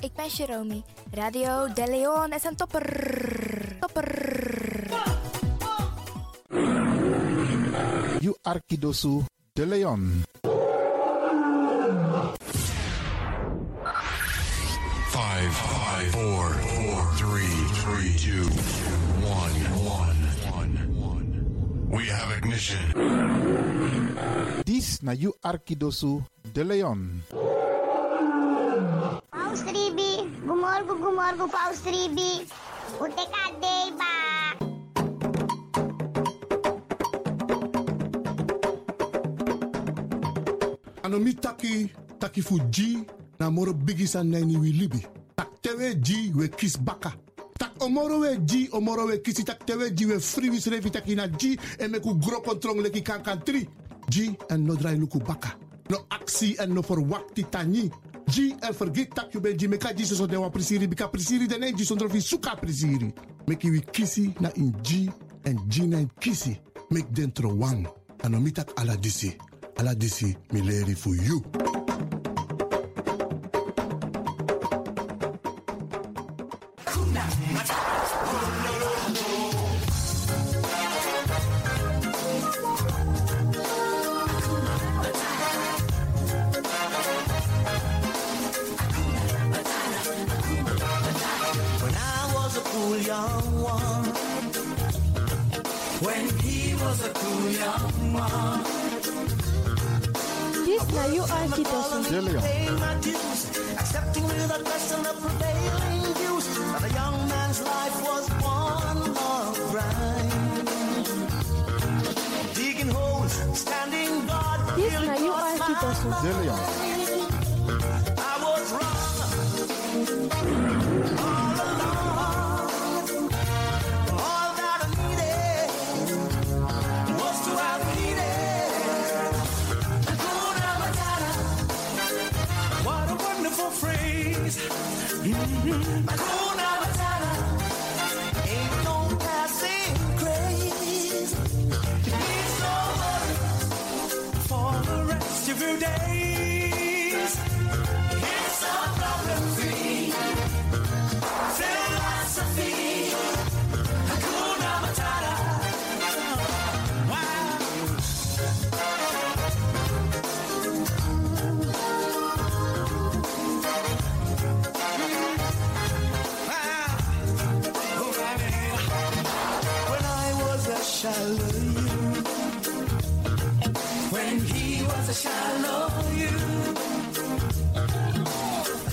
Ik ben Jerome. Radio De Leon is een topper. Topper. You Arkidosu de Leon. Five, five, four, four, three, three, two, one, one, one, one. We have ignition. This na You Arkidosu de Leon. Paus Ribi, gumorgo, gumorgo, Paus Ribi. Ute kadeiba. Anomi taki, taki fu G, na moro bigisan nani wi libi. Tak tewe G, we kis baka. Tak omoro we G, omoro we kisi, tak tewe G, we free wis revi taki na G, en meku gro kontrong leki kan kan tri. G, en no drai luku baka. No aksi en no forwakti tani. G, en vergeet tak you ben G, meka G so dewa prisiri, bika prisiri dene G, sondro fi suka prisiri. Meki wi kisi na in G, en G na in kisi. Mek dentro wang. Anomi tak ala disi. Ala disi mi leri fu you. When I was a cool young one. When he was a cool young one. This na you Arkidosu. De Leon. Paying my dues, accepting without question the prevailing views. But a young man's life was one long grind. Digging holes, standing guard. This till it na you cost my Arkidosu. De Leon. I was wrong. All along. All that I needed was to have needed. Hakuna Matata. What a wonderful phrase. Mhm. Hakuna Matata. Ain't no passing craze. It's no worry for the rest of your days. It's a problem free philosophy. Hakuna Matata. Wow. Wow. Oh, baby. When I was a Shallow you. When he was a shallow you.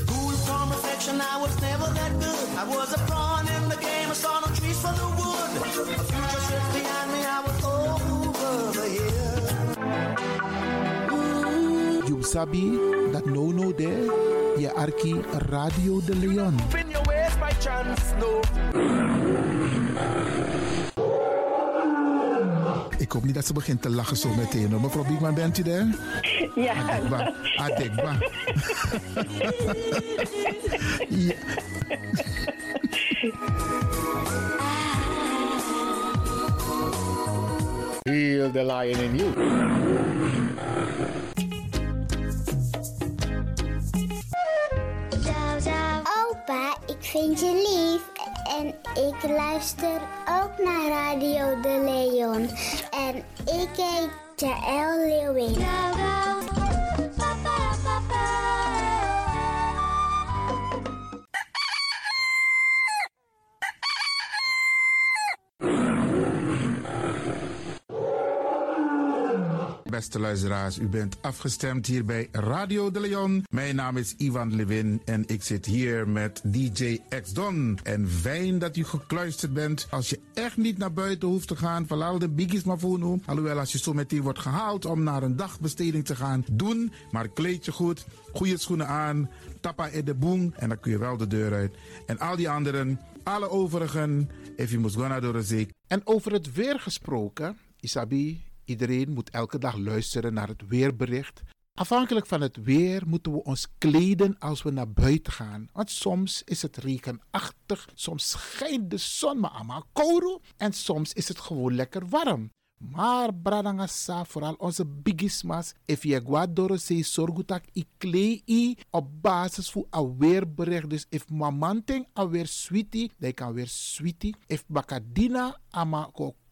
Cool from reflection, I was never that good. I was a pawn in the game, I saw no trees for the wood. A future sits behind me, I was over the hill. You sabi that no no there. You Arki Radio de Leon. In your ways by chance, no. Ik hoop niet dat ze begint te lachen zo meteen. hoor. Mevrouw Biekman, bent u daar? Ja, Adekba. Adekba. ja. Heel de lion in you. Opa, ik vind je lief. En ik luister ook naar Radio De Leon. En ik heet Jaël Leeuwin. Beste luisteraars, u bent afgestemd hier bij Radio de Leon. Mijn naam is Ivan Levin en ik zit hier met DJ X Don. En fijn dat u gekluisterd bent. Als je echt niet naar buiten hoeft te gaan, verlaat de biggies maar voor nu. Alhoewel, als je zo meteen wordt gehaald om naar een dagbesteding te gaan, doen. Maar kleed je goed, goede schoenen aan, tappa in de boem en dan kun je wel de deur uit. En al die anderen, alle overigen, if you must go naar door de zee. En over het weer gesproken, Isabi, Iedereen moet elke dag luisteren naar het weerbericht. Afhankelijk van het weer moeten we ons kleden als we naar buiten gaan. Want soms is het regenachtig, soms schijnt de zon maar allemaal kouro en soms is het gewoon lekker warm. Maar bradangasa, vooral onze bigismas, if je guadoro se sorgutak i klei i op basis voor een weerbericht. Dus if mamanting a weer sweetie, dan kan weer sweetie. If bakadina ama ko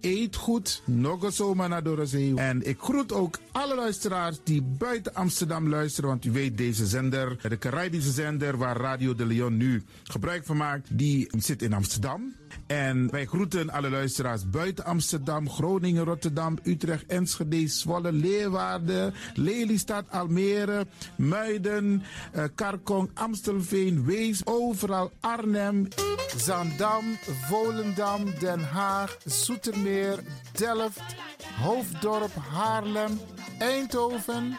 eet goed. Nog een zomaar naar Dorozee. En ik groet ook alle luisteraars die buiten Amsterdam luisteren. Want u weet, deze zender, de Caribische zender waar Radio de Leon nu gebruik van maakt, die zit in Amsterdam. En wij groeten alle luisteraars buiten Amsterdam, Groningen, Rotterdam, Utrecht, Enschede, Zwolle, Leeuwarden, Lelystad, Almere, Muiden, eh, Karkong, Amstelveen, Wees, overal Arnhem, Zandam, Volendam, Den Haag, Zoetermeer, Delft, Hoofddorp, Haarlem, Eindhoven.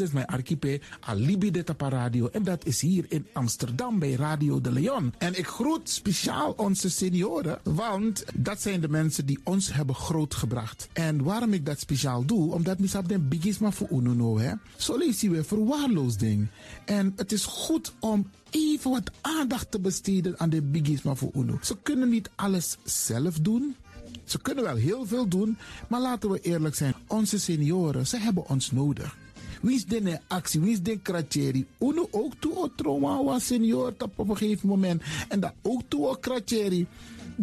is mijn archipel, Alibi de Tapa Radio. En dat is hier in Amsterdam bij Radio de Leon. En ik groet speciaal onze senioren, want dat zijn de mensen die ons hebben grootgebracht. En waarom ik dat speciaal doe, omdat misap den bigisma voor Ununo, hè. Zo lezen we verwaarloosding. En het is goed om even wat aandacht te besteden aan de bigisma voor Uno. Ze kunnen niet alles zelf doen. Ze kunnen wel heel veel doen, maar laten we eerlijk zijn. Onze senioren, ze hebben ons nodig. Wie is de actie, wie is de kratjeri? Uno ook toe o trauma was senior tap op een gegeven moment. En dat ook toe oh, o kratjeri.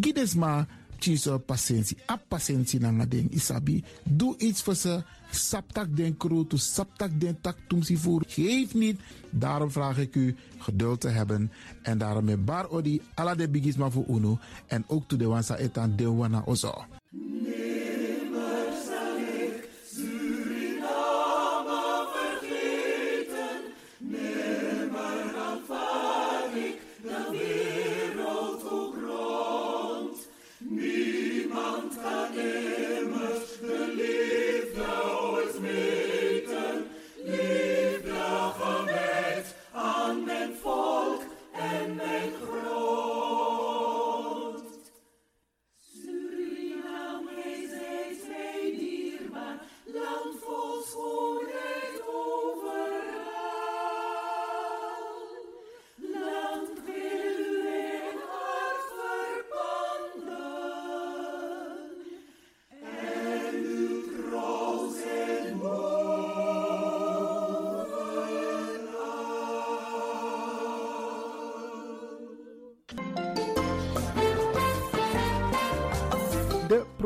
Gides maar, tjiso patiëntie. A patiëntie na nga ding, isabi. Doe iets voor ze. Saptak den kroto, saptak den tak tumsi voor. Geef niet. Daarom vraag ik u geduld te hebben. En daarom met bar odi, ala de bigisma voor Uno. En ook toe de wansa etan de wana ozo. De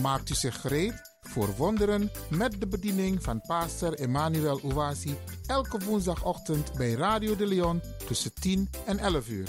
Maakt u zich gereed voor wonderen met de bediening van pastor Emmanuel Owasi elke woensdagochtend bij Radio de Leon tussen 10 en 11 uur.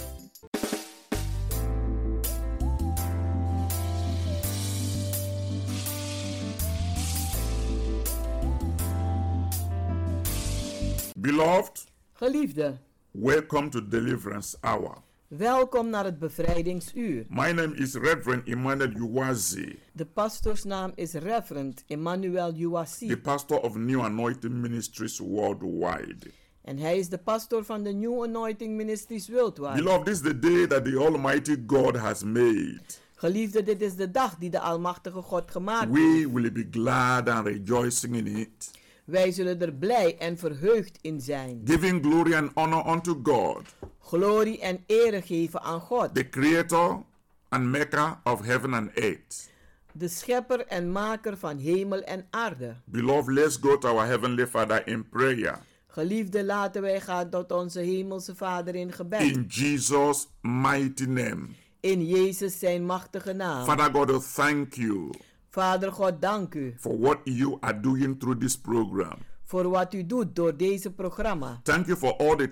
Beloved, Geliefde, welcome to Deliverance Hour. welkom naar het bevrijdingsuur. My name is Reverend Emmanuel Uwazi, De pastorsnaam is Reverend Emmanuel the Uwasi pastor of New Anointing Ministries worldwide. en hij is de pastor van de New Anointing Ministries Worldwide. Beloved, this is the day that the Almighty God has made. Geliefde, dit is de dag die de Almachtige God gemaakt heeft. We will be glad and rejoicing in it, Wij zullen er blij en verheugd in zijn. giving glory and honor unto God, Glorie en ere geven aan God, the Creator and Maker of heaven and earth. de schepper en maker van hemel en aarde. Beloved, let's go to our Heavenly Father in prayer. Geliefde, laten wij gaan tot onze hemelse Vader in gebed. In Jesus' mighty name. In Jezus zijn machtige naam. Father God, I thank you Vader God, dank u for what you are doing through this program. voor wat u doet door deze programma. Thank you for all the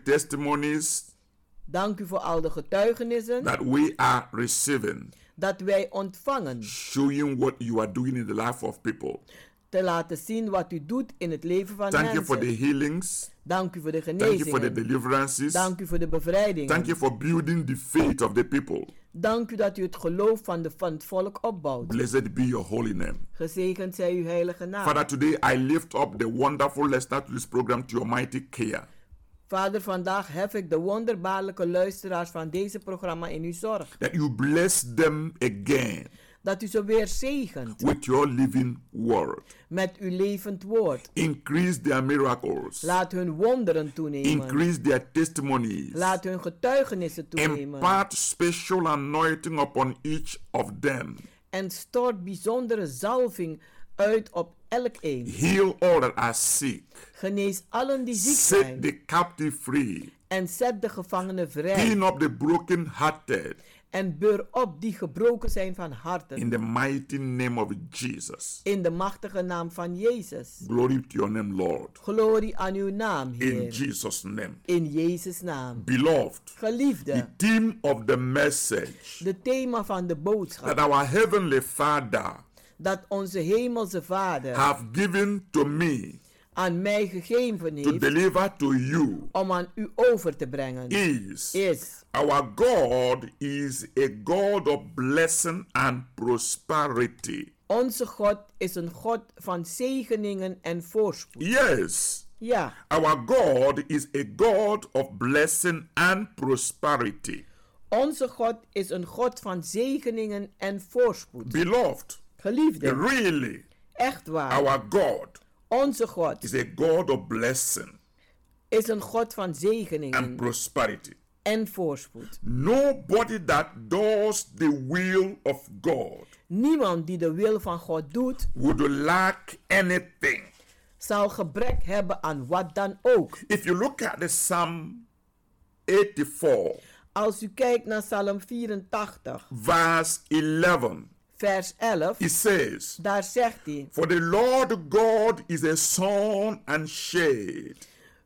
testimonies Dank u voor al de getuigenissen that we are receiving, dat wij ontvangen. showing what you are doing in the life of people. Te laten zien wat u doet in het leven van Thank you for the mensen. healings. Dank u voor de Thank you for the genezingen. deliverances. Dank u voor de bevrijding. Thank you for building the faith of the people. Dank u dat u het geloof van, de, van het volk opbouwt. Blessed be your holy name. Gezegend zij uw heilige naam. Father, today I lift up the wonderful listener to this program to your mighty care. Vader, vandaag hef ik de wonderbaarlijke luisteraars van deze programma in uw zorg. That you bless them again Dat u ze weer zegent with your living word. met uw levend woord. Increase their miracles. Laat hun wonderen toenemen. Increase their testimonies. Laat hun getuigenissen toenemen. Impart special anointing upon each of them. En stort bijzondere zalving uit op elk een. Heal all that are sick. Genees allen die ziek Set zijn. the captive free. En zet de gevangenen vrij. Clean up the broken-hearted. En beur op die gebroken zijn van In harten. the mighty name of Jesus. In de machtige naam van Jezus. Glory to your name, Lord. Glorie aan uw naam, In Heer. Jesus' name. In Jezus' naam. Beloved, the Geliefde, theme of the message de thema van de boodschap that our Heavenly Father dat onze hemelse Vader have given to me aan mij gegeven to heeft deliver to you om aan u over te brengen, is is Our God is a God of blessing and prosperity. onze God is een God van zegeningen en voorspoed. Yes, Ja, our God is a God of blessing and prosperity. onze God is een God van zegeningen en voorspoed. Beloved, Geliefde, really, echt waar, our God onze God is a God of blessing is een God van and zegeningen prosperity. en voorspoed. Nobody that does the will of God Niemand die de wil van God doet, would lack anything. zal gebrek hebben aan wat dan ook. If you look at the Psalm 84, Als u kijkt naar Psalm 84, verse 11, vers 11, It says, daar zegt hij: For the Lord God is a sun and shade.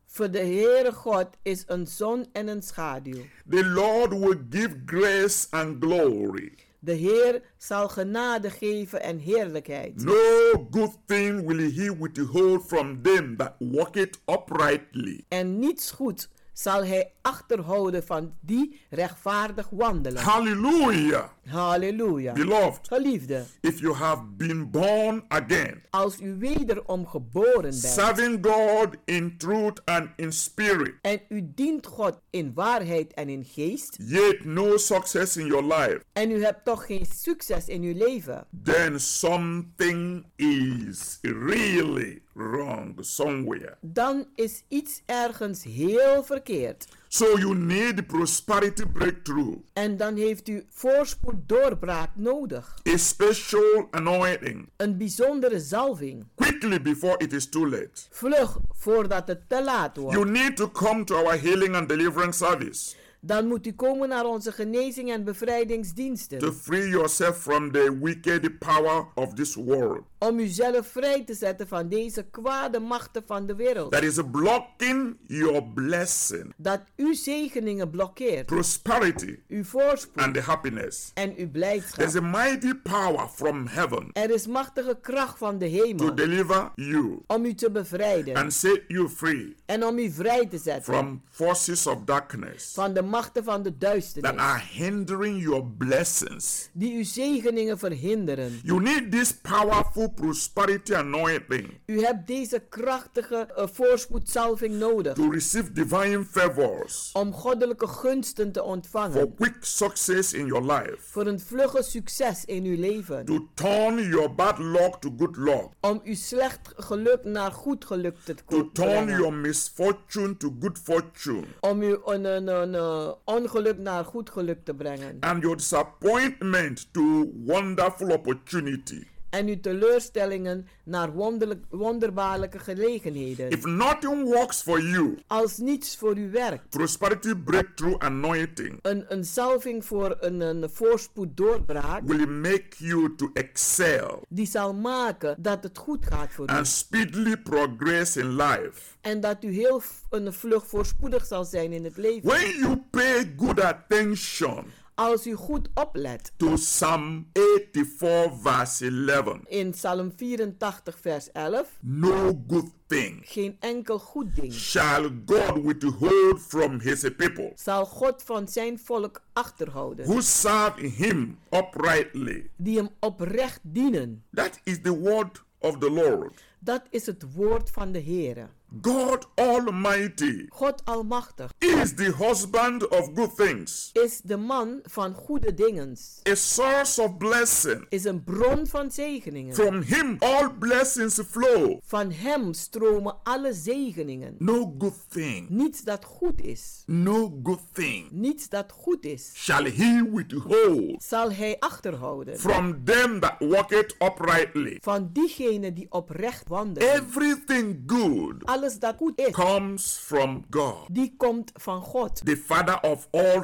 Voor de Heere God is een zon en een schaduw. The Lord will give grace and glory. De Heer zal genade geven en heerlijkheid. No good thing will he withhold from them that walk it uprightly. En niets goed zal hij achterhouden van die rechtvaardig wandelen. Hallelujah. Halleluja. Beloved, Geliefde, if you have been born again, als u wederom geboren bent serving God in truth and in spirit, en u dient God in waarheid en in geest, yet no success in your life, en u hebt toch geen succes in uw leven, then something is really wrong somewhere. dan is iets ergens heel verkeerd. So you need prosperity breakthrough, En dan heeft u voorspoed doorbraak nodig. a special anointing, Een bijzondere zalving. quickly before it is too late. Vlug voordat het te laat wordt. You need to come to our healing and deliverance service Dan moet u komen naar onze genezing en to bevrijdingsdiensten. free yourself from the wicked power of this world Om uzelf vrij te zetten van deze kwade machten van de wereld. that is blocking your blessing, Dat uw zegeningen blokkeert. prosperity, Uw and voorspoed the happiness. en uw There's a blijdschap. mighty power from heaven Er is machtige kracht van de to hemel. deliver you Om u te bevrijden. and set you free En om u vrij te zetten. from forces of darkness Van de machten van de that duisternis. are hindering your blessings. Die uw zegeningen verhinderen. You need this powerful prosperity anointing U hebt deze krachtige eh, voorspoedzalving nodig. to receive divine favors Om goddelijke gunsten te for ontvangen. quick success in your life, Voor een vlugge succes in uw leven. to turn your bad luck to good luck, Om uw slecht geluk naar goed geluk te to ko- turn brengen. your misfortune to good fortune, Om uw on- on- on- eh, ongeluk naar goed geluk te brengen. and your disappointment to wonderful opportunity. En uw teleurstellingen naar wonderlijk, wonderbaarlijke gelegenheden. If nothing works for you, Als niets voor u werkt. prosperity breakthrough anointing Een, een salving voor een, een voorspoed doorbraak. will make you to excel Die zal maken dat het goed gaat voor u. and speedily progress in life. En dat u heel v- een vlug voorspoedig zal zijn in het leven. When you pay good attention Als u goed oplet. to Psalm 84, verse 11, In Psalm 84 vers 11. no good thing Geen enkel goed ding shall God withhold from his people zal God van zijn volk achterhouden. who serve him uprightly. Die hem oprecht dienen. That is the word of the Lord. Dat is het woord van de Heere. God Almighty God Almachtig is the husband of good things, is de man van goede dingen. a source of blessing. Is een bron van zegeningen. From him all blessings flow. Van hem stromen alle zegeningen. No good thing, Niets dat goed is. no good thing Niets dat goed is. shall he withhold Zal hij achterhouden. from them that walk it uprightly. Van diegenen die oprecht wandelen. Everything good Alles dat goed is. comes from God, Die komt van God. the Father of all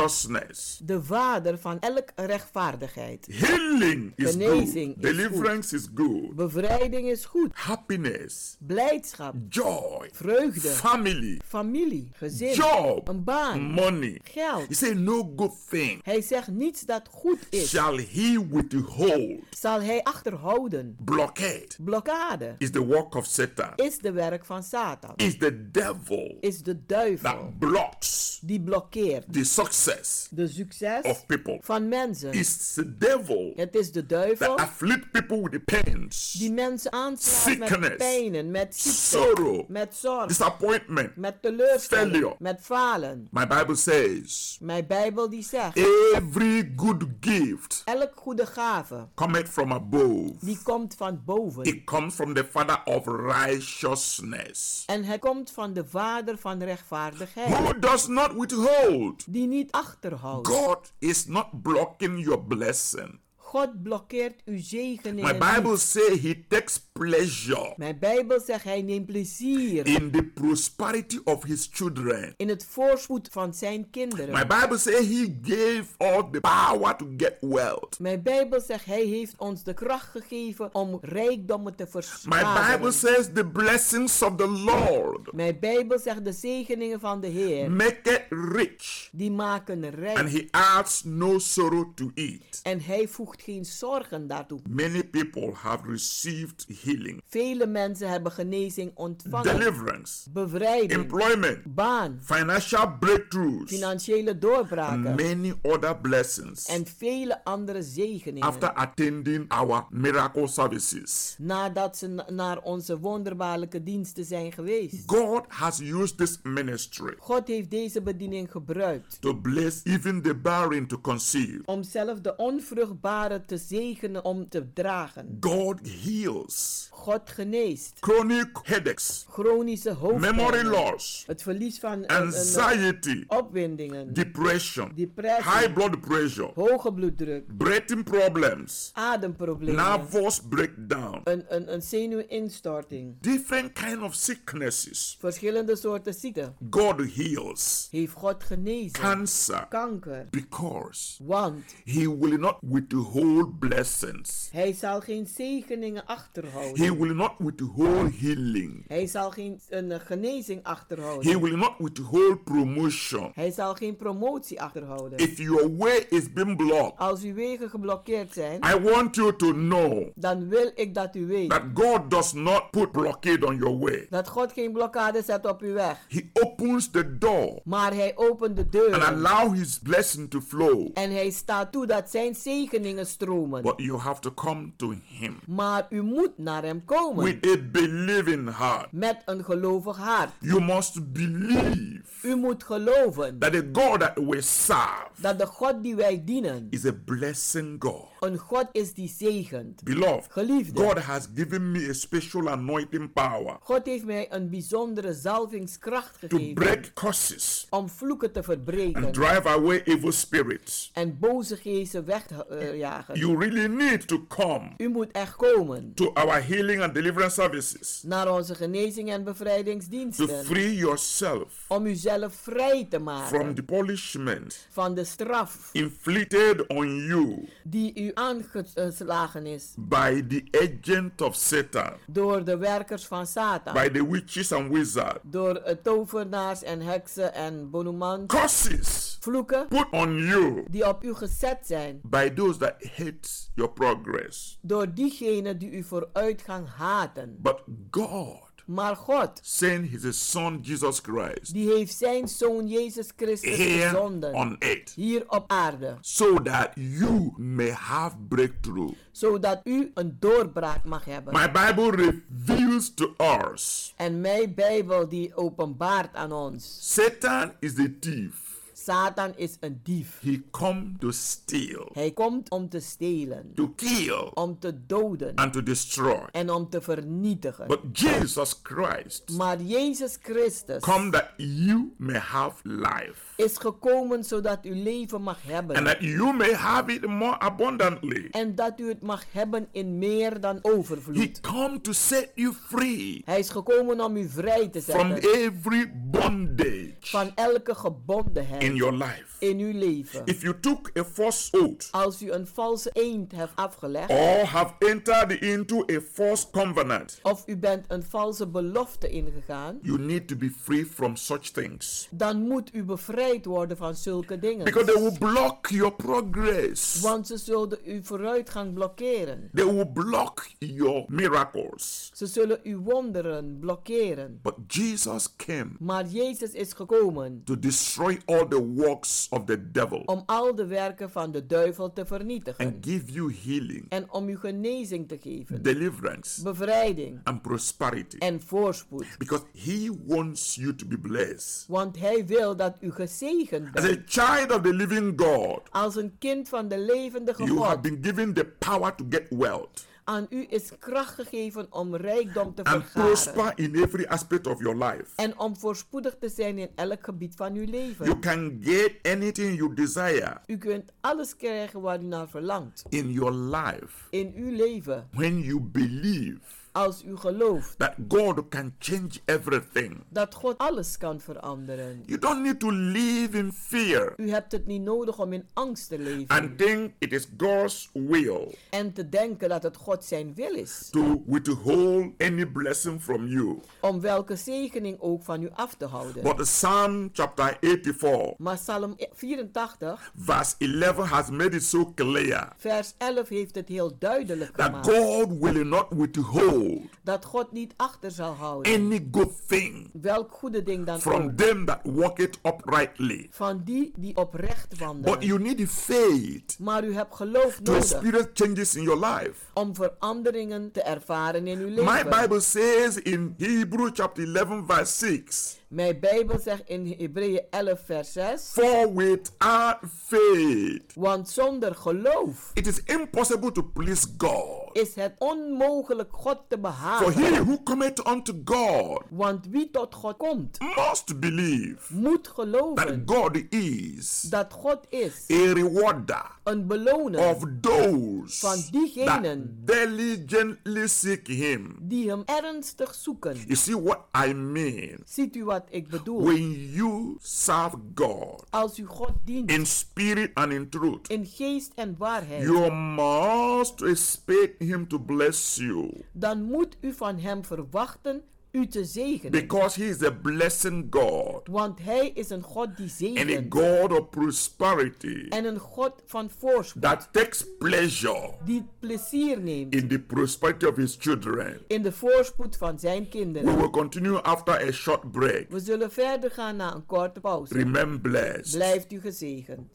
righteousness. De vader van elke rechtvaardigheid. Healing is Genezing good, is deliverance is good, Bevrijding is goed. happiness, Blijdschap. joy, Vreugde. family, Familie. Gezin. job, Een baan. money. Geld. He said, No good thing Hij zegt niets dat goed is. shall he withhold. Zal hij achterhouden. Blockade Blokkade. is the work of Satan, Is de werk van Satan. is the devil Is de duivel. that blocks Die blokkeert. the success De succes of people. van mensen. It's the devil Het is de that duivel afflict people with the pains, die mensen aanslaat Sickness. met pijnen, met ziekte, sorrow, met zorg, disappointment. met teleurstelling, Failure. met falen. My Bible says, Mijn Bijbel die zegt, Every good gift elk goede gave, cometh from above. die komt van boven. It comes from the Father of righteousness, En hij komt van de vader van rechtvaardigheid, who does not withhold. die niet achterhoudt. God is not blocking your blessing. God blokkeert uw My zegeningen Bible niet. says He takes pleasure Mijn Bijbel zegt, hij neemt plezier in the prosperity of His children. in het voorspoed van zijn My kinderen. Bible says He gave us the power to get wealth. Mijn Bijbel zegt, hij heeft ons de kracht gegeven om rijkdommen te My Bible verspreiden. says the blessings of the Lord Mijn Bijbel zegt de zegeningen van de Heer, make it rich, die maken and rijk. He adds no sorrow to it. En hij voegt geen zorgen daartoe. Many people have received healing, Vele mensen hebben genezing ontvangen. deliverance, Bevrijding, employment, baan, financial breakthroughs, financiële and doorbraken many other blessings. en vele andere After zegeningen. attending our miracle services, Nadat ze na- naar onze wonderbaarlijke diensten zijn geweest. God has used this ministry God heeft deze bediening gebruikt to bless even the barren to conceive. om zelf de onvruchtbare te zegenen om te dragen. God heals headaches, God geneest. chronic headaches, Chronische hoofdpijn. memory loss, Het verlies van uh, eh, eh, anxiety, opwindingen. depression, Depressie. high blood pressure, hoge bloeddruk. breathing problems, Ademproblemen. nervous breakdown, Een, een, een zenuwinstorting. different kind of sicknesses. Verschillende soorten ziekten. God heals Heeft God genezen. cancer Kanker. because Want he will not withhold blessings. hij zal geen zegeningen achterhouden. He will not withhold healing. Hij zal geen een eh, genezing achterhouden. He will not withhold promotion. Hij zal geen promotie achterhouden. If your way is being blocked, Als uw wegen geblokkeerd zijn, I want you to know dan wil ik dat u weet that God does not put blockade on your way. dat God geen blokkade zet op uw weg. He opens the door Maar hij opent de and deur allow his blessing to flow. en hij staat toe dat zijn zegeningen stromen. But you have to come to him Maar u moet naar hem komen with a believing heart. met een gelovig hart. You must believe U moet geloven that the God that we serve dat de God die wij dienen, is a blessing God. een God is die zegent. Beloved, Geliefde. God has given me a special anointing power God heeft mij een bijzondere zalvingskracht to gegeven break curses om vloeken te and verbreken drive away evil spirits. en boze geesten weg te eh, jagen. You really need to come U moet echt komen to our healing and deliverance services naar onze genezing en to bevrijdingsdiensten free yourself om uzelf vrij te from maken the punishment van de straf inflicted on you die u aangeslagen is by the agent of Satan, door de werkers van by Satan, the witches and wizards. door eh, tovenaars en heksen en bonumans, Curses vloeken put on you die op u gezet zijn by those that hate your progress. door diegenen die u vooruitgang haten. But God Maar God, sent his son Jesus Christ die heeft zijn zoon Jezus Christus here gezonden on earth hier op aarde, so that you may have breakthrough. zodat u een doorbraak mag hebben. My Bible reveals to us En mijn Bijbel die openbaart aan ons. Satan is the thief. Satan is een dief. He come to steal, Hij komt om te stelen, to kill, om te doden and to destroy. en om te vernietigen. But Jesus Christ Maar Jezus Christus come that you may have life is gekomen zodat u leven mag and hebben. that you may have it more abundantly. En dat u het mag hebben in meer dan He overvloed. come to set you free Hij is gekomen om u vrij te from zetten every bondage van elke in gebondenheid your life. in uw leven. If you took a false oath Als u een valse eend hebt afgelegd or have entered into a false covenant, of u bent een valse belofte ingegaan, you need to be free from such things dan moet u bevrijd worden van zulke dingen. because they will block your progress. Want ze zullen uw vooruitgang blokkeren. They will block your miracles. Ze zullen uw wonderen blokkeren. But Jesus came Maar Jezus is gekomen to destroy all the works of the devil om al de werken van de duivel te and vernietigen. give you healing, En om u genezing te geven, deliverance, um, bevrijding and prosperity. en voorspoed. Because he wants you to be blessed. Want hij wil dat u gezegend As a bent. child of the living God, Als een kind van de levendige you have God. been given the power to get wealth Aan u is kracht gegeven om rijkdom te and vergaren. prosper in every aspect of your life. En om voorspoedig te zijn in elk gebied van uw You leven. can get anything you desire U kunt alles krijgen waar u naar verlangt. in your life In uw leven. when you believe Als u gelooft that God can change everything. dat God alles kan veranderen. You don't need to live in fear U hebt het niet nodig om in angst te leven. and think it is God's will En te denken dat het God zijn wil is. to withhold any blessing from you. Om welke zegening ook van u af te houden. But the Psalm chapter 84, Maar Psalm 84, verse 11 has made it so clear vers 11 heeft het heel duidelijk that gemaakt. God will not withhold Dat God niet achter zal houden. any good thing Welk goede ding dan ook. from them that walk it uprightly. Van die die oprecht But you wandelen. need the faith Maar u hebt geloof to nodig experience changes in your life. om veranderingen te ervaren in uw My leven. Bible says in Hebrew chapter 11, verse 6 Mijn Bijbel zegt in Hebreeën 11 vers 6. For without faith, want zonder geloof it is impossible to please God. is het onmogelijk God te behagen. For he who cometh unto God Want wie tot God komt, must believe moet that geloven God is dat God is a rewarder een beloner of those van diegenen that diligently seek him. die hem ernstig zoeken. You see what I mean? Ziet u wat ik bedoel? When you serve God Als u God dient in spirit and in truth, in geest en waarheid, you must expect him to bless you dan moet u van hem verwachten u te zegenen. because he is a blessing God Want hij is een God die and a zegent God of prosperity en een God van voorspoed that takes pleasure die plezier neemt in the prosperity of his children. in de voorspoed van zijn We kinderen. will continue after a short break. We zullen verder gaan na een korte pauze. Remain blessed. Dus Blijft u gezegend.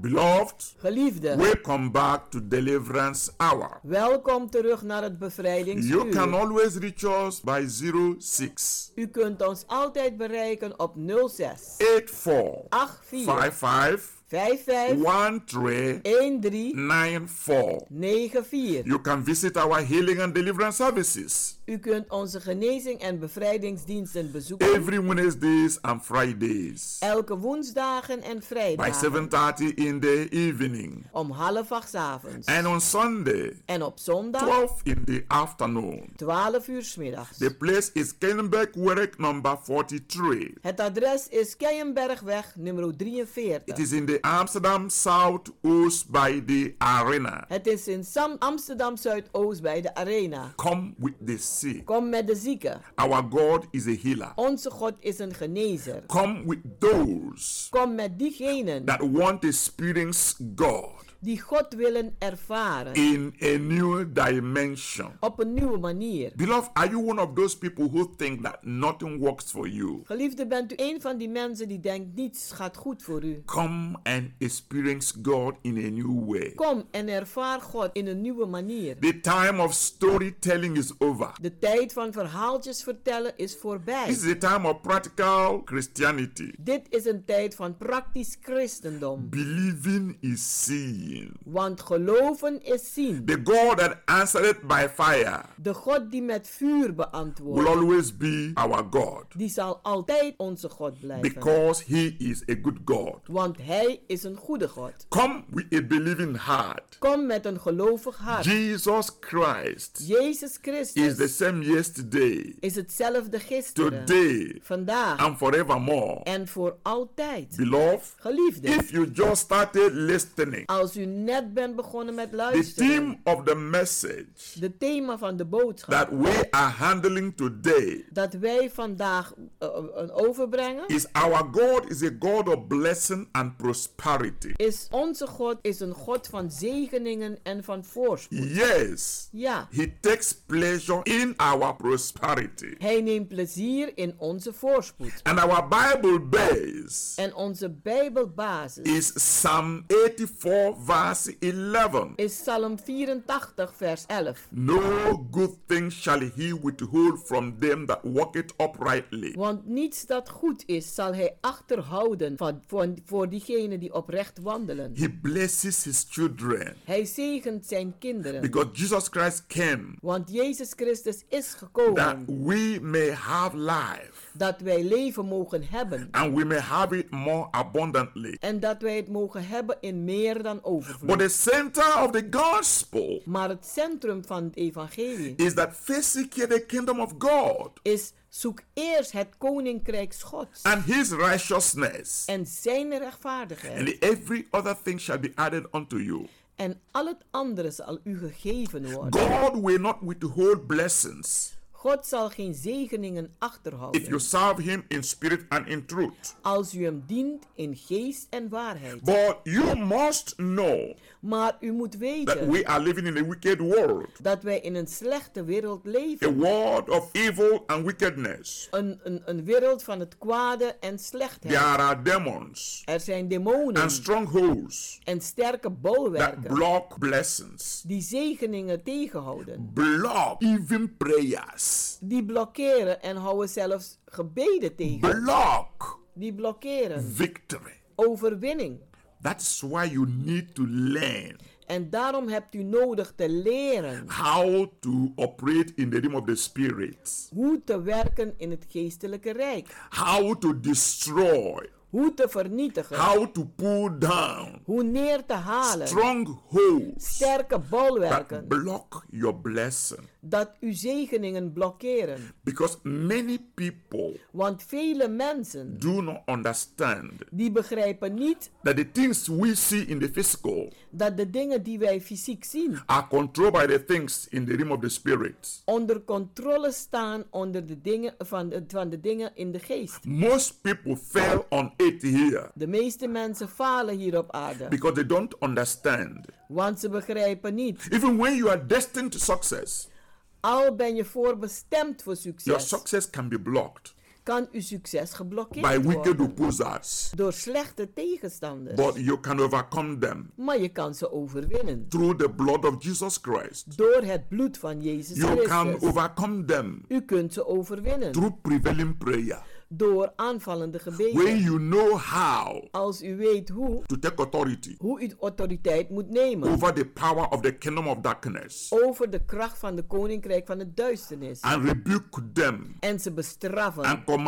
Beloved, Geliefde, welcome back to Deliverance Hour. welkom terug naar het You can bevrijdingsuur. always reach us by 06 U Ah, kunt ons altijd bereiken op 06 84 84 55 5 5 1 3 9 4. You can visit our healing and deliverance services U kunt onze genezing en bevrijdingsdiensten bezoeken every Wednesdays and Fridays elke woensdagen en by vrijdagen 7:30 in the evening om half acht 's avonds and on Sunday en op zondag 12 in the afternoon. 12 uur 's middags. The place is Kennebec Werk number 43. Het adres is Keienbergweg nummer 43. It is in the Amsterdam South Oost by the arena. Het is in Sam- Amsterdam Zuidoost bij de Arena. Come with the sick. Kom met de zieken. Our God is a healer. Onze God is een genezer. Come with those Kom met diegenen that want to experience God die God willen ervaren in a new dimension. op een nieuwe manier. Beloved, are you one of those people who think that nothing works for you? Geliefde, bent u een van die mensen die denkt niets gaat goed voor u? Come and experience God in a new way. Kom en ervaar God in een nieuwe manier. The time of storytelling is over. De tijd van verhaaltjes vertellen is voorbij. This is a time of practical Christianity. Dit is een tijd van praktisch christendom. Believing is seeing. Want geloven is zien. The God that answered by fire De God die met vuur beantwoordt, will always be our God die zal altijd onze God blijven. because He is a good God. Want Hij is een goede God. Come with a believing heart. Kom met een gelovig hart. Jesus Christ Jezus is the Christus same yesterday, is hetzelfde gisteren, today, vandaag and forevermore. en voor altijd. Beloved, Geliefde, if you just started listening, als u net bent begonnen met the luisteren, theme of the message de thema van de boodschap that we are handling today dat wij vandaag eh, eh, overbrengen is our God is a God of blessing and prosperity. is onze God is een God van zegeningen en van voorspoed. Yes, Ja, He takes pleasure in our prosperity. Hij neemt plezier in onze voorspoed. And our Bible base En onze Bijbelbasis is Psalm 84, verse 11. is Psalm 84, vers 11. No good thing shall he withhold from them that walk it uprightly. Want niets dat goed is, zal hij achterhouden van, voor, voor diegenen die oprecht wandelen. He blesses his children Hij zegent zijn kinderen. because Jesus Christ came Want Jezus Christus is that gekomen we may have life dat wij leven mogen hebben. and we may have it more abundantly. En dat wij het mogen hebben in meer dan But overvloed. the center of the gospel Maar het centrum van het evangelie is that first seek ye the kingdom of God is zoek eerst het koninkrijk Gods and his righteousness, en zijn and rechtvaardigheid. every other thing shall be added unto you. En al het andere zal u gegeven worden. God will not withhold blessings God zal geen zegeningen if you achterhouden serve him in spirit and in truth. als u hem dient in geest en waarheid. But you must know Maar u moet that weten we are living in a wicked world, dat wij in een slechte wereld a leven. world of evil and wickedness. Een, een, een wereld van het kwade en There slechtheid. are demons Er zijn and demonen strongholds en sterke that bolwerken block blessings, die zegeningen tegenhouden. block even prayers, Die blokkeren en houden zelfs gebeden tegen. block Die blokkeren victory. overwinning. That's why you need to learn En daarom hebt u nodig te leren how to operate in the realm of the spirit, hoe te werken in het geestelijke rijk. how to destroy, Hoe te vernietigen. how to pull down Hoe neer te halen. strongholds Sterke that bolwerken. block your blessing. Dat uw zegeningen blokkeren. Because many people Want vele mensen do not understand die begrijpen niet that the things we see in the physical dat de dingen die wij fysiek zien are controlled by the things in the realm of the spirit. onder controle staan onder de dingen van, de, van de dingen in de geest. Most people fail on it here De meeste mensen falen hier op aarde, because they don't understand. want ze begrijpen niet. Even when you are destined to success, Al ben je voorbestemd voor your succes, success can be blocked kan uw succes by geblokkeerd wicked worden opposers, door slechte tegenstanders. but you can overcome them maar je kan ze overwinnen through the blood of Jesus Christ. door het bloed van Jezus You can Christus. overcome them U kunt ze overwinnen through prevailing prayer. door aanvallende gebeden. When you know how Als u weet hoe, to take authority hoe u autoriteit moet nemen over the power of the kingdom of darkness over de kracht van de koninkrijk van de duisternis. and rebuke them En ze bestraffen and command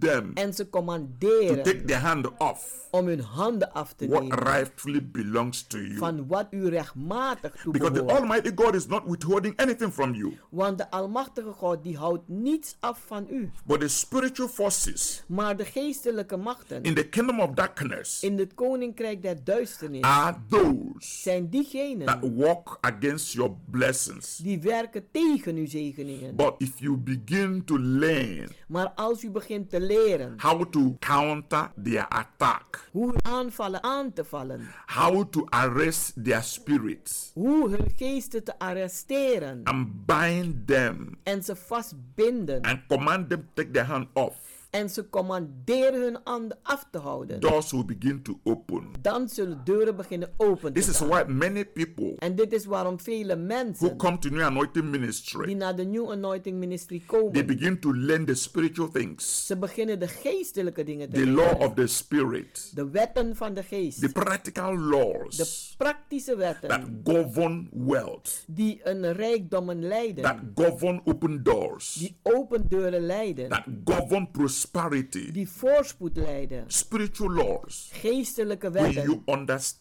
them en ze to commanderen take their hand off om hun handen af te what nemen rightfully belongs to you. van wat u rechtmatig Because the toebehoort. Almighty God is not withholding anything from you, Want de Almachtige God die houdt niets af van u. but the spiritual forces Maar de geestelijke machten in the kingdom of darkness in het koninkrijk der duisternis are those zijn that diegenen walk against your blessings. die werken tegen uw zegeningen. But if you begin to learn Maar als u begint te leren how to counter their attack, hoe hun aanvallen aan te vallen, how to arrest their spirits hoe hun geesten te arresteren and bind them en ze vastbinden and command them to take their hand off, en ze commanderen hun handen af te houden, doors will begin to open. dan zullen deuren beginnen open te This is gaan. why many people En dit is waarom vele who mensen come to New Anointing die Ministry naar de New Anointing Ministry they komen, begin to learn the spiritual things, ze beginnen de geestelijke dingen te the law leren. of the spirit, De wetten van de geest, the practical de laws praktische wetten that govern wealth, die een rijkdommen leiden, that govern open doors, die open deuren leiden, that govern prosperity, die voorspoed leiden, spiritual laws. geestelijke When wetten. you understand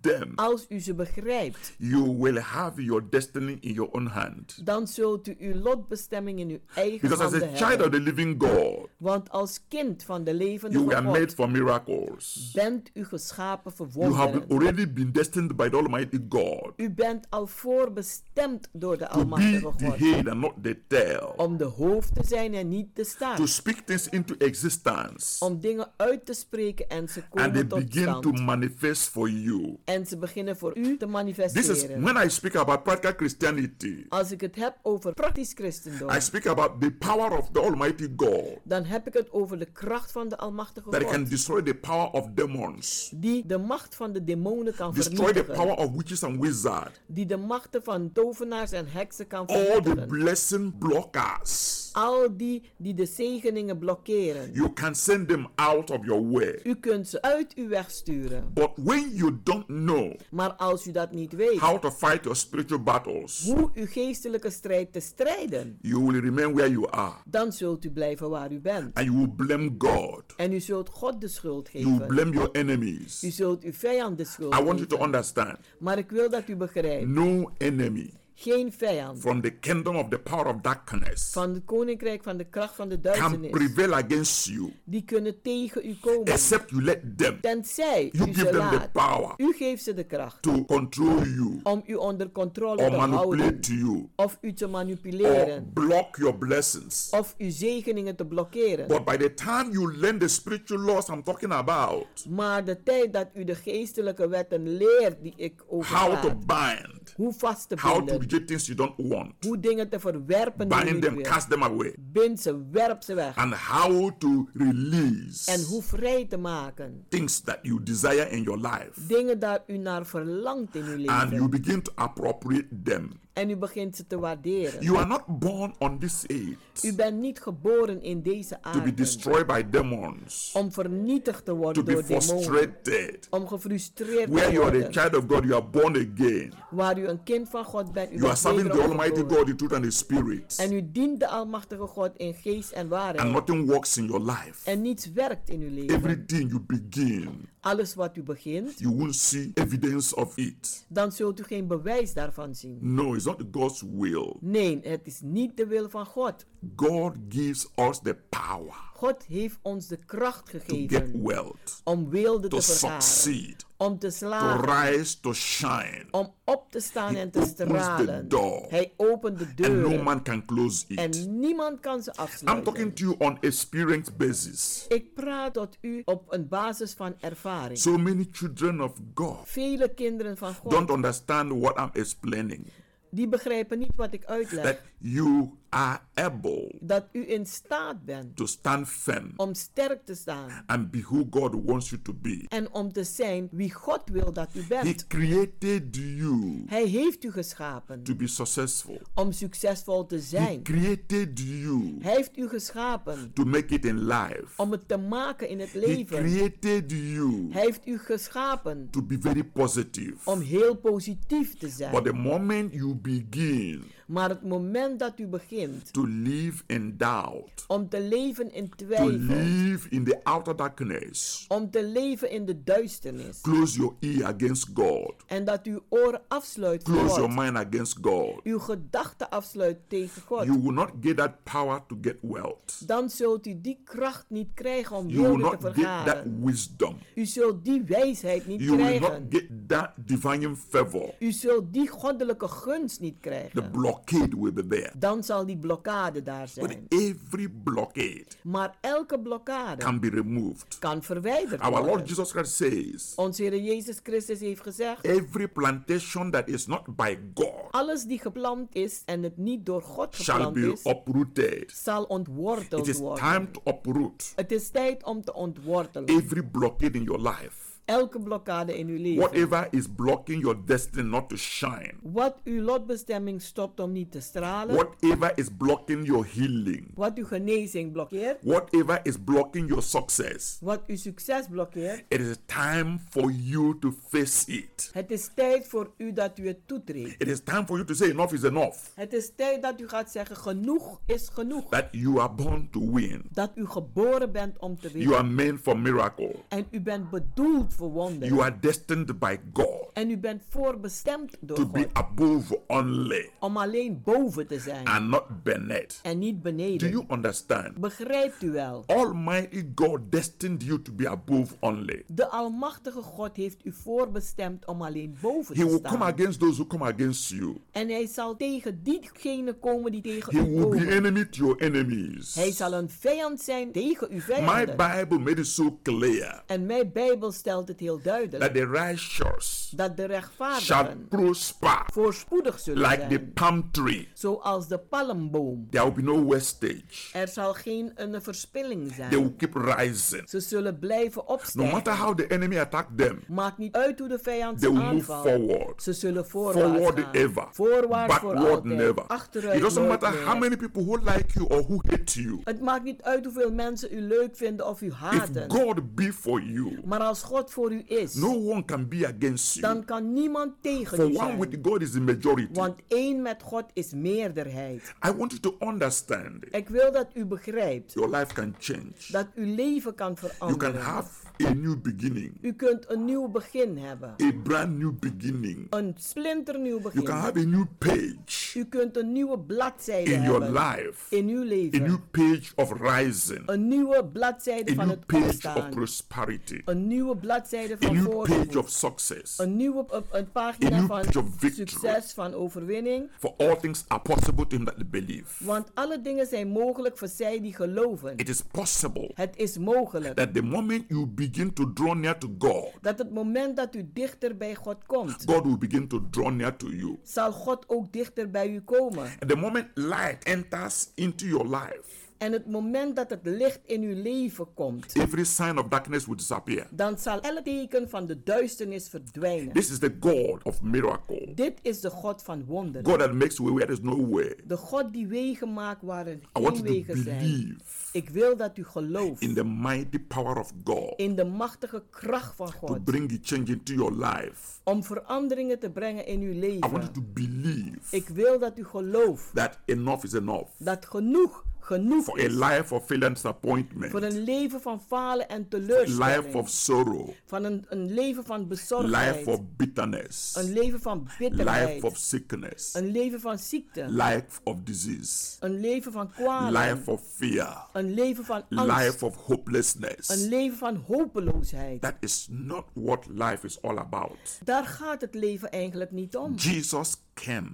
them, Als u ze begrijpt, you will have your destiny in your own hand. dan zult u uw lotbestemming in uw eigen Because as handen a child of hebben. the living God, Want als kind van de levende you were made God for miracles. bent u geschapen voor You wonderen. have already been destined by the Almighty God U bent al voorbestemd door de to be Almachtige the God. head and not the tail, Om de hoofd te zijn en niet de to staart. speak things into existence, Om dingen uit te spreken en ze and they komen tot begin to stand. manifest for you. En ze beginnen voor u te This is manifesteren. when I speak about practical Christianity. Als ik het heb over praktisch christendom, I speak about the power of the Almighty God dan heb ik het over de kracht van de Almachtige that can God. destroy the power of demons, Die de macht van de demonen kan destroy the vernietigen. power of witches and wizards, Die de machten van tovenaars en heksen kan all the vernietigen. blessing blockers. Al die die de zegeningen blokkeren. You can send them out of your way. U kunt ze uit uw weg sturen. But when you don't know Maar als u dat niet weet, how to fight your spiritual battles, hoe uw geestelijke strijd te strijden, you will remain where you are dan zult u blijven waar u bent. and you will blame God. En u zult God de schuld You will geven. blame your U enemies. zult uw vijand de schuld I want Mm. you to geven. understand Maar ik wil dat u begrijpt. no enemy Geen vijand from the kingdom of the power of darkness van het koninkrijk van de kracht van de can duisternis. prevail against you Die kunnen tegen u komen. except you let them. Tenzij You u give ze them the laat. power. U geeft ze de kracht to control you om u onder controle or te houden. manipulate you Of u te or manipuleren. block your blessings. Of uw zegeningen te blokkeren. But by the time you learn the spiritual laws I'm talking about, Maar de tijd dat u de geestelijke wetten leert die ik how to overpraat. bind, Hoe vast te how to binden. reject things you don't want, Hoe dingen te verwerpen die u bind niet them, wilt. cast them away, Bind ze, werp ze weg. and how to release En hoe vrij te maken. things that you desire in your life. Dingen daar u naar verlangt in uw And Ah, you leven. begin to appropriate them. En u begint ze te waarderen. You are not born on this U age bent niet geboren in deze to be aarde destroyed by demons, om vernietigd te to worden be door demonen. frustrated. Om gefrustreerd Where te you are a worden. child of God, you are born again. Waar u een kind van God bent. U You are bent serving the wederom Almighty geboren. God in truth and in spirit. En u dient de Almachtige God in geest en And waarheid. nothing works in your life. En niets werkt in uw leven. Everything you begin, Alles wat u begint, you won't see evidence of it. dan zult u geen bewijs daarvan zien. No, it's not God's will. Nee, het is niet de wil van God. God gives us the power God heeft ons de kracht to get gegeven wealth, om weelde to te vergaren. succeed, Om te to slagen. rise, to shine. Om op te staan He en te opens the stralen. door. Hij opent de And deur. no man can close it. En niemand kan ze I'm talking afsluiten. to you on experience basis. Ik praat tot u op een basis van ervaring. So many children of God Vele kinderen van God, don't understand what I'm explaining. die begrijpen niet wat ik That uitleg. you are able dat u in staat bent to stand firm om sterk te staan and be who God wants you to be. en om te zijn wie God wil dat u He bent. created you Hij heeft u geschapen to be successful. om succesvol te He zijn. created you Hij heeft u geschapen to make it in life. om het te maken in het He leven. created you Hij heeft u geschapen to be very positive. om heel positief te But the zijn. moment you begin Maar het moment dat u begint to live in doubt, om te leven in to twijfel, live in the outer darkness, om te leven in de duisternis close your ear against God, en dat uw oren afsluit voor close your God, mind against God, uw gedachten afsluit tegen God, you will not get that power to get wealth. dan zult u die kracht niet krijgen om You will wilde te not get that vergaren. wisdom. U zult die wijsheid niet You will not krijgen. get that divine favor. U zult die goddelijke gunst niet The krijgen. blockade will be there. Dan zal die blokkade daar But zijn. every blockade Maar elke blokkade can be removed. kan verwijderd Our Lord worden. Jesus Christ says, Ons Heer Jezus Christus heeft gezegd: every plantation that is not by God alles die geplant is en het niet door God shall geplant be is, uprooted. zal It ontworteld is time worden. to uproot Het is tijd om te ontwortelen. every blockade in your life. Elke blokkade in uw leven. Whatever is blocking your destiny not to shine. Wat uw lotbestemming stopt om niet te stralen. Whatever is blocking your healing. Wat uw genezing blokkeert. Whatever is blocking your success. Wat uw succes blokkeert. It is time for you to face it. Het is tijd voor u dat u het toetreedt. It is time for you to say enough is enough. Het is tijd dat u gaat zeggen: genoeg is genoeg. That you are born to win. Dat u geboren bent om te You winnen. are meant for miracle. En u bent bedoeld voor wonderen. You are destined by God En u bent voorbestemd door to be God above only om alleen boven te zijn and not beneath. en niet Do beneden. you understand? Begrijpt u wel? Almighty God destined you to be above only. De Almachtige God heeft u voorbestemd om alleen boven He te will come staan. against those who come against you. En hij zal tegen diegenen komen die tegen He u will be komen. enemy to your enemies. Hij zal een vijand zijn tegen uw My vijanden. Bible made it so clear En mijn Bijbel stelt het heel duidelijk. that the righteous Dat de shall rechtvaardigen prosper voorspoedig zullen like the zijn. palm tree. Zoals de palmboom. There will be no wastage. Er zal geen een verspilling They will zijn. keep rising. Ze zullen blijven No matter opstijgen. how the enemy attack them, Maakt niet uit hoe de vijand they ze will move aanvalt. forward. Ze zullen voorwaarts Forward ever. gaan. Voorwaarts voor Backward altijd. never. It Achteruit doesn't nooit matter how meer. many people who like you or who hate you. Het maakt niet uit hoeveel mensen u leuk vinden of u If haten. God be for you, Maar als God voor u is, no one can be against you. dan kan niemand tegen For u one zijn. with God is the majority. Want één met God is meerderheid. I want you to understand Ik wil dat u begrijpt your life can change. dat uw leven kan You can veranderen. have a new beginning, U kunt een nieuw begin hebben. a brand new beginning. Een splinternieuw You can begin. have a new page U kunt een nieuwe bladzijde in your hebben life, in Oh, uw a leven. new page of rising, Een nieuwe bladzijde a van new het page of opstaan. prosperity, Een nieuwe bladzijde a van new page voorspoed. of success. Een nieuwe een- een A pagina new page van of victory. succes, van overwinning. For all things are possible to him that believe. Want alle dingen zijn mogelijk voor zij die geloven. It is possible Het is mogelijk that the moment you begin to draw near to God, dat het moment dat u dichter bij God komt, God will begin to draw near to you. zal God ook dichter bij u komen. And the moment light enters into your life, En het moment dat het licht in uw leven komt, every sign of darkness will disappear. dan zal elk teken van de duisternis verdwijnen. This is the God of miracle. Dit is de God van wonderen. God that makes way where there's no way. De God die wegen maakt waar er I want geen you to wegen zijn. believe Ik wil dat u gelooft in the mighty power of God in de machtige kracht van to God. bring a change into your life. Om veranderingen te brengen in uw I want you leven. to believe Ik wil dat u gelooft that enough is enough dat genoeg genoeg for a is life of failure and disappointment, voor een leven van falen en life teleurstelling. of sorrow, Van een, een leven van life bezorgdheid. of bitterness, Een leven van life of bitterheid. sickness, Een leven van ziekte. life of disease, Een leven van kwalen. life of fear, Een leven van angst. life of hopelessness. Een leven van hopeloosheid. That is not what life is all about. Daar gaat het leven eigenlijk niet om. Jesus came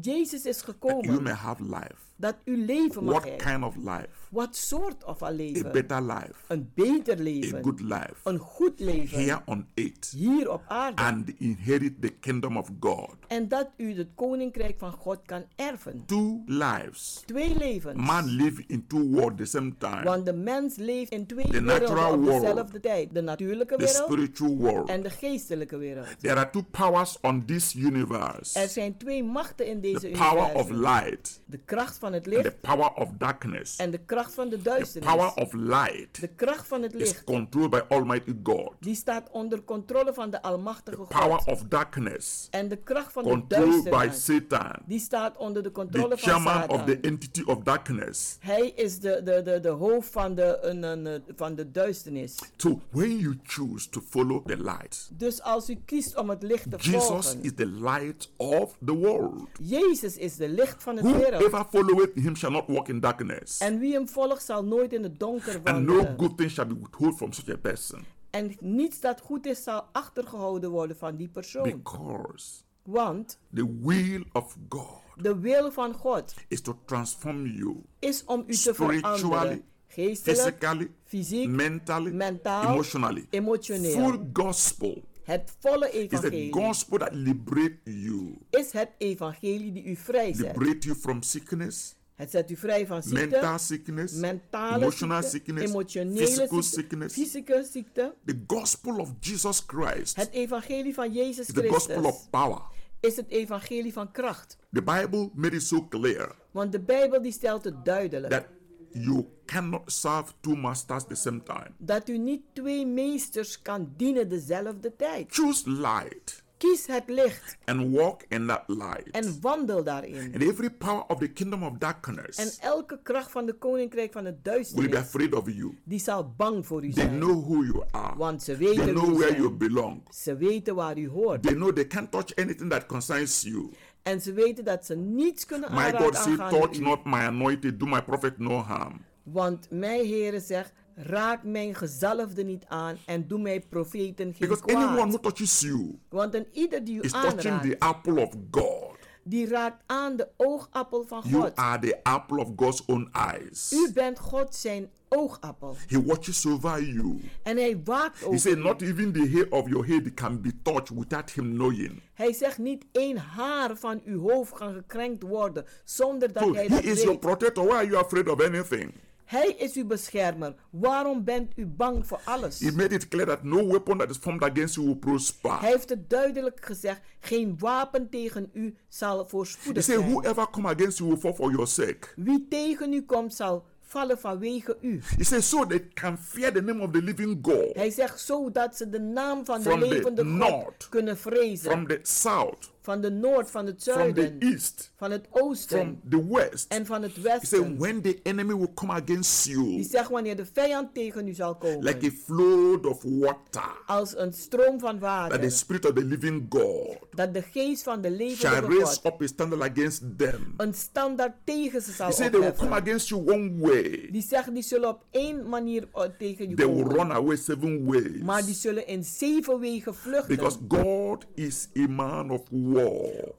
Jezus is you may gekomen have life. dat u leven mag What hebben. kind of life? Wat soort of een A leven? better life. Een beter leven. A good life. Een goed leven. Here on earth. Hier op aarde. And inherit the kingdom of God. En dat u het koninkrijk van God kan erven. Two lives. Twee levens. Man live in two worlds at the same time. Want de mens leeft in twee The werelden natural op world. dezelfde tijd. De natuurlijke The wereld spiritual world. en de geestelijke wereld. There are two powers on this universe. Er zijn twee machten in deze The power of universum. light De kracht van het and licht the power of darkness. en de kracht van de The power duisternis. of light De kracht van het is licht controlled by Almighty God. die staat onder controle van de almachtige Power God. of darkness En de kracht van de controlled by duisternis Satan. die staat onder de controle The van chairman of the Satan. entity of darkness. Hij is de, de, de, de hoofd van de, een- een- een- van de duisternis. So when you choose to follow the light, Dus als u kiest om het licht te Jesus volgen, is the light of the world. Jezus is de licht van het wereld. Whoever followeth him shall not walk in darkness. En wie hem volgt zal nooit in het donker And no wandelen. good thing shall be withheld from such a person. En niets dat goed is zal achtergehouden worden van die persoon. Because Want the will of God de wil van God is to transform you is om u te Spiritually, veranderen. Geestelijk, physically, fysiek, mentally, mentaal, emotionally. Full emotioneel. gospel Het volle is the evangelie gospel that liberates you, is het evangelie die u vrijzet. liberate you from sickness, Het zet u vrij van mental ziekte, sickness, mentale emotional ziekte, sickness, emotionele physical ziekte, sickness. fysieke ziekte. The gospel of Jesus Christ Het evangelie van Jezus is the gospel Christus of power. is het evangelie van kracht. The Bible made it so clear Want de Bijbel die stelt het duidelijk. that you cannot serve two masters at the same time. Dat u niet twee meesters kan dienen dezelfde tijd. Choose light Kies het licht and walk in that light. en wandel daarin. and every power of the kingdom of darkness En elke kracht van de koninkrijk van het will be duisternis, afraid of you. die zal bang voor u They zijn. know who you are. Want ze They weten know wie u where you bent. belong. Ze weten waar u hoort. They know they can't touch anything that concerns you. En ze weten dat ze niets kunnen My God aanraken said, touch aangaande u. not my anointed, do my prophet no harm. Want mijn Heere zegt, raak mijn gezalfde niet aan en doe mijn profeten geen Because anyone who kwaad. touches you Want een ieder die u is touching aanraakt, the apple of God. die raakt aan de oogappel van You God. are the apple of God's own eyes. U bent God zijn oogappel. He watches over you. En hij waakt He over said, u. Not even the hair of your head can be touched without him knowing. Hij zegt niet één haar van uw hoofd kan gekrenkt worden zonder dat So hij he dat is your weet. protector. Why are you afraid of anything? Hij is uw beschermer. Waarom bent u bang voor alles? He made it clear that no weapon that is formed against you will Hij prosper. heeft het duidelijk gezegd. Geen wapen tegen u zal He voorspoedig said, zijn. Whoever come against you will fall for your sake. Wie tegen u komt zal vallen vanwege u. He says, so they can fear the name of the living God Hij zegt zodat ze de naam van de From the levende north. God kunnen vrezen. from the south, Van de noord, van het from the zuiden, east, van het from oosten the west. en van het He said, westen. when the enemy will come against you Die zegt wanneer de vijand tegen u zal like a komen. flood of water, Als een stroom van that the water. spirit of the living God Dat de geest van de shall levende raise God up a standard against them. een standaard tegen ze zal He said, they will come opheffen. against you one way, Die zegt die zullen op één manier eh, tegen je they will komen. run away seven Maar die ways. zullen in zeven wegen Because vluchten. God is a man of war.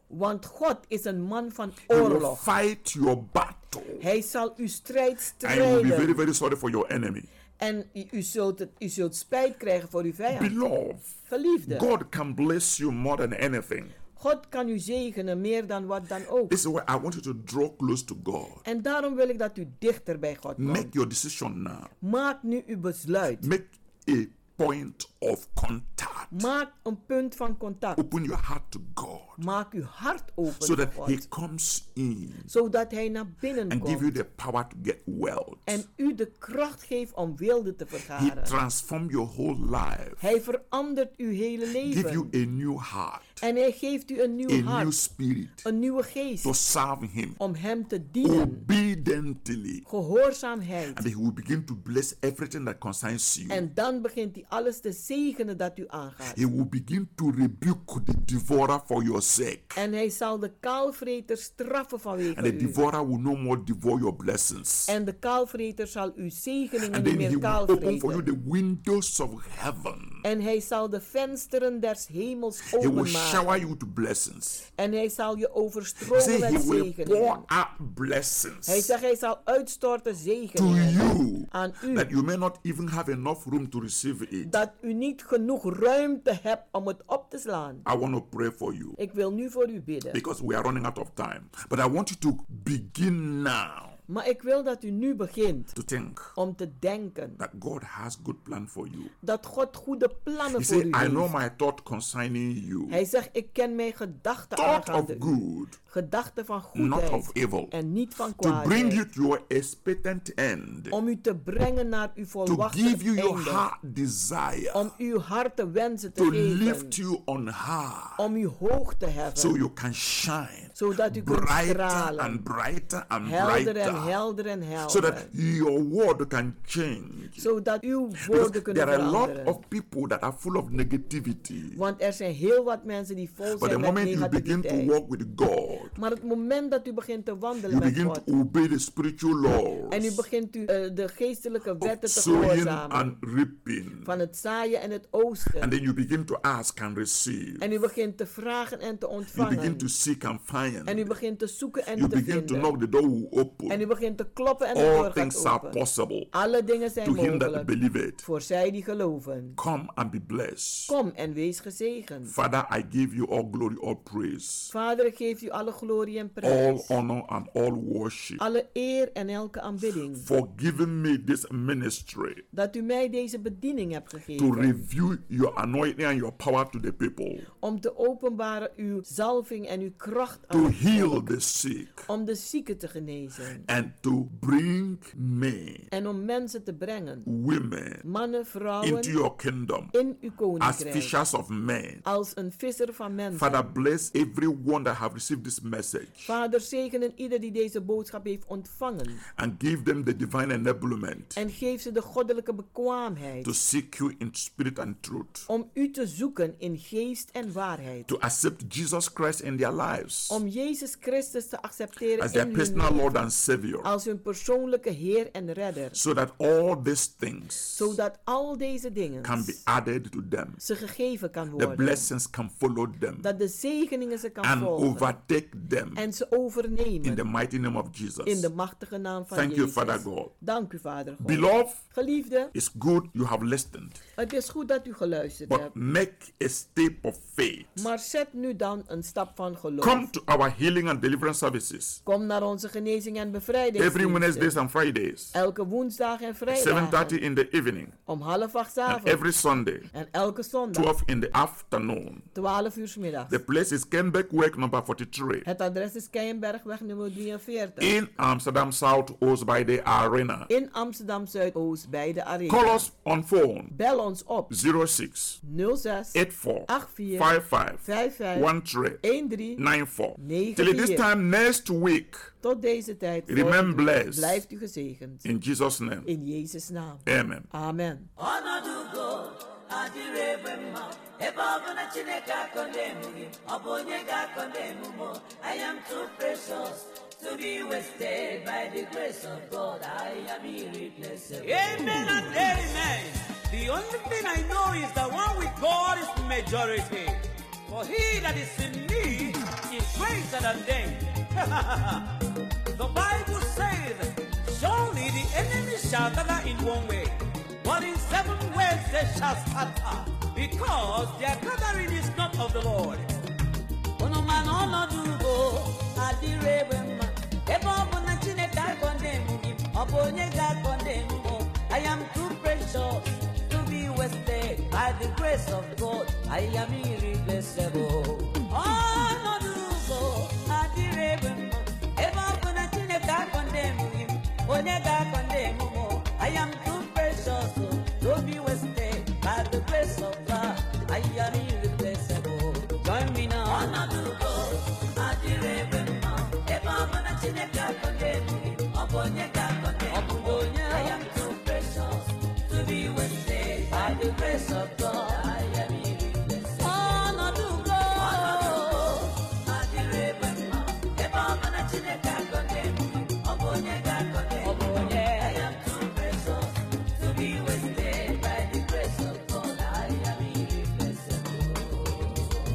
Want God is een man van He will oorlog. fight your battle. Hij zal uw strijd And you will be very, strijden. very sorry for your enemy. En u, u zult het, u zult spijt krijgen voor uw vijand. Beloved, Geliefde, God can bless you more than anything. God kan u zegenen meer dan wat dan ook. This is why I want you to draw close to God. En daarom wil ik dat u dichter bij God komt. Make your decision now. Maak nu uw besluit. Make a point of contact. Maak een punt van contact. Open your heart to God Maak uw hart open so that voor He God. comes in Zodat hij naar binnen and give you komt. the power to get wealth. En u de kracht geeft om wilde te He vergaren. transform your whole life, Hij verandert uw hele give you leven. a new heart, En hij geeft u een a nieuw new hart, spirit een nieuwe to geest serve Him om hem te dienen. obediently. And Gehoorzaamheid. He will begin to bless everything that concerns you. En dan begint hij alles te zegenen dat u aangaat. He will begin to rebuke the devourer for your sake. En hij zal de kaalvreter straffen And the vanwege u. devourer will no more devour your blessings. En de kaalvreter zal uw zegeningen And niet then he meer will open for you kaalvreten. the windows of heaven. En hij zal de vensteren des hemels He will shower you with blessings. En hij zal je Say overstromen Oh, he met will pour zegeningen. out blessings Hij zegt, hij zal uitstorten to zegeningen. you Aan u. that you may not even have enough room to receive it. Dat u niet genoeg ruimte hebt om het op te slaan. I want to pray for you Ik wil nu voor u bidden. because we are running out of time. But I want you to begin now Maar ik wil dat u nu begint to think om te denken that God has good plan for you. dat God goede plannen He voor said, u I know heeft. my thought concerning you. Hij zegt, ik ken mijn gedachten Thought aangaande of u. good, Gedachten van not of goedheid evil. en niet van To bring you kwaadheid. to your expectant end. Om u te brengen naar uw To volwassen give you your einde. heart desire. Om uw hart de wensen te To lift geven. you on high. Om u hoog te heffen. So you can shine. zodat u kunt Brighter stralen. and brighter and Helder en brighter. helder en helder. So that your word can change. zodat uw Because woorden kunnen there are a lot veranderen. of people that are full of negativity. Want er zijn heel wat mensen die vol But the zijn met moment you begin to negativiteit. walk with God, Maar het moment dat u begint te wandelen you met begin God. to obey the spiritual En u laws begint u, eh, de geestelijke of wetten te sowing gehoorzamen. and reaping. Van het zaaien en het oosten. And then you begin to ask and receive. en u begint te vragen en te You begin ontvangen. to seek and en u find. begint te zoeken en You te begin to vinden. knock the door will en u open. begint te kloppen en de All deur things gaat are open. possible Alle dingen zijn to him that mogelijk believeth. voor zij die geloven. Come and be blessed. Kom en wees gezegend. Father, I give you all glory, all praise, Vader, ik geef u alle glorie en all prijs. honor, and all worship Alle eer en elke aanbidding. for giving me this ministry. Dat u mij deze bediening hebt to gegeven. reveal your anointing and your power to the people, Om te openbaren uw zalving en uw kracht aan to het heal volk, the sick, Om de zieken te genezen. and to bring men, En om mensen te brengen. women Mannen, vrouwen. into your kingdom In uw as koninkrijk. fishers of men. Als een visser van mensen. Father, bless everyone that have received this message Vader, zegenen ieder die deze boodschap heeft ontvangen. and give them the divine enablement En geef ze de goddelijke bekwaamheid. to seek you in spirit and truth, om u te zoeken in geest en waarheid. to accept Jesus Christ in their lives Om Jezus Christus te accepteren as in their hun personal leven Lord and Savior, als hun persoonlijke Heer en Redder. so that all these things Zodat al deze dingen can be added to them. ze gegeven kan the worden. blessings can follow them dat de zegeningen ze kan and volgen. overtake them en ze overnemen in the mighty name of Jesus. in de machtige naam van Thank you, Jezus. Father God. Dank u, Vader God. Beloved, Geliefde, it's good you have listened, het is goed dat u geluisterd but hebt. make a step of faith. Maar zet nu dan een stap van geloof. Come to our healing and deliverance services Kom naar onze genezing en bevrijding. every Wednesdays and Fridays, Elke woensdag en vrijdag. 7:30 in the evening, Om half acht 's and avonds. every Sunday, En elke zondag, 12 in the afternoon. 12 uur 's middags. The place is Kenbeck Work number 43 Het adres is Keienbergweg nummer 43. in Amsterdam South Oost by the Arena. In Amsterdam Zuidoost bij de Call Arena. us on phone Bel ons op 06 06 eight four Ach, vier. five five 55 one three 13. nine four. Negen, Till this vier. time next week, Tot deze tijd. voor- Remain blessed. Blijft u gezegend. in Jesus' name, In Jezus' naam. Amen. Amen. Amen and amen. The only thing I know is that one with God is the majority. For he that is in me is greater than they. the Bible says, Surely the enemy shall gather in one way, but in seven ways they shall scatter, because their gathering is not of the Lord. Unu ma na ọnọdụ ugo adịrị egbe mma ebe ọ bụ na Chineke akọndem gị ọ bụ onye ga-akọndem mụ I am too precious to be wasted by the grace of God I am irreplaceable ọnọdụ ugo adịrị egbe mma ebe ọ bụ na Chineke akọndem gị onye ga-akọndem mụ I am too precious to be wasted by the grace of God I am irreplaceable join me now I am too precious to be wasted by the grace of God. I am irreplaceable. Honor to God. I am too precious to be wasted by the grace of God. I am irreplaceable.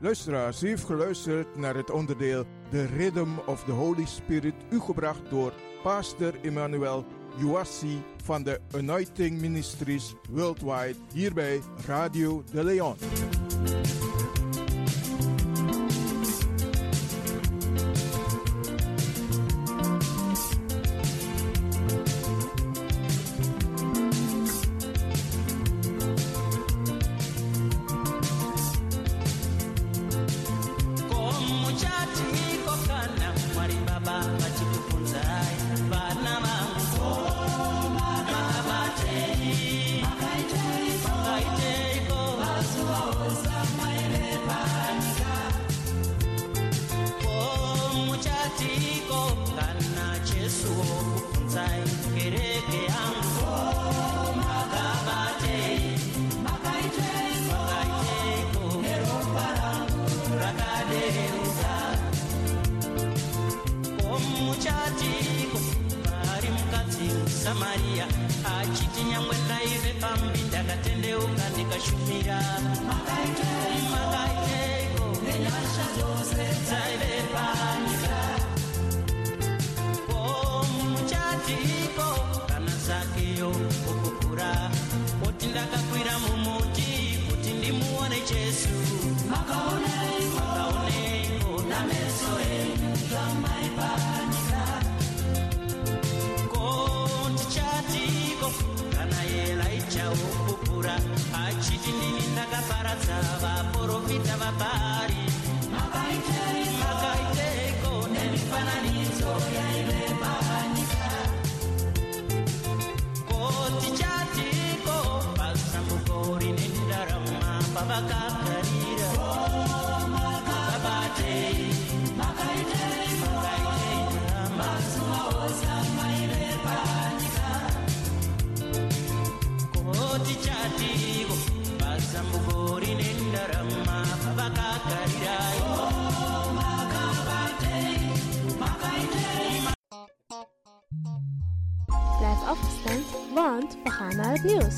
Luisteraars, u heeft geluisterd naar het onderdeel The Rhythm of the Holy Spirit, u gebracht door Pastor Emmanuel Juassi van de Anointing Ministries Worldwide, hier bij Radio De Leon. Blijf afgestemd, want we gaan naar het nieuws.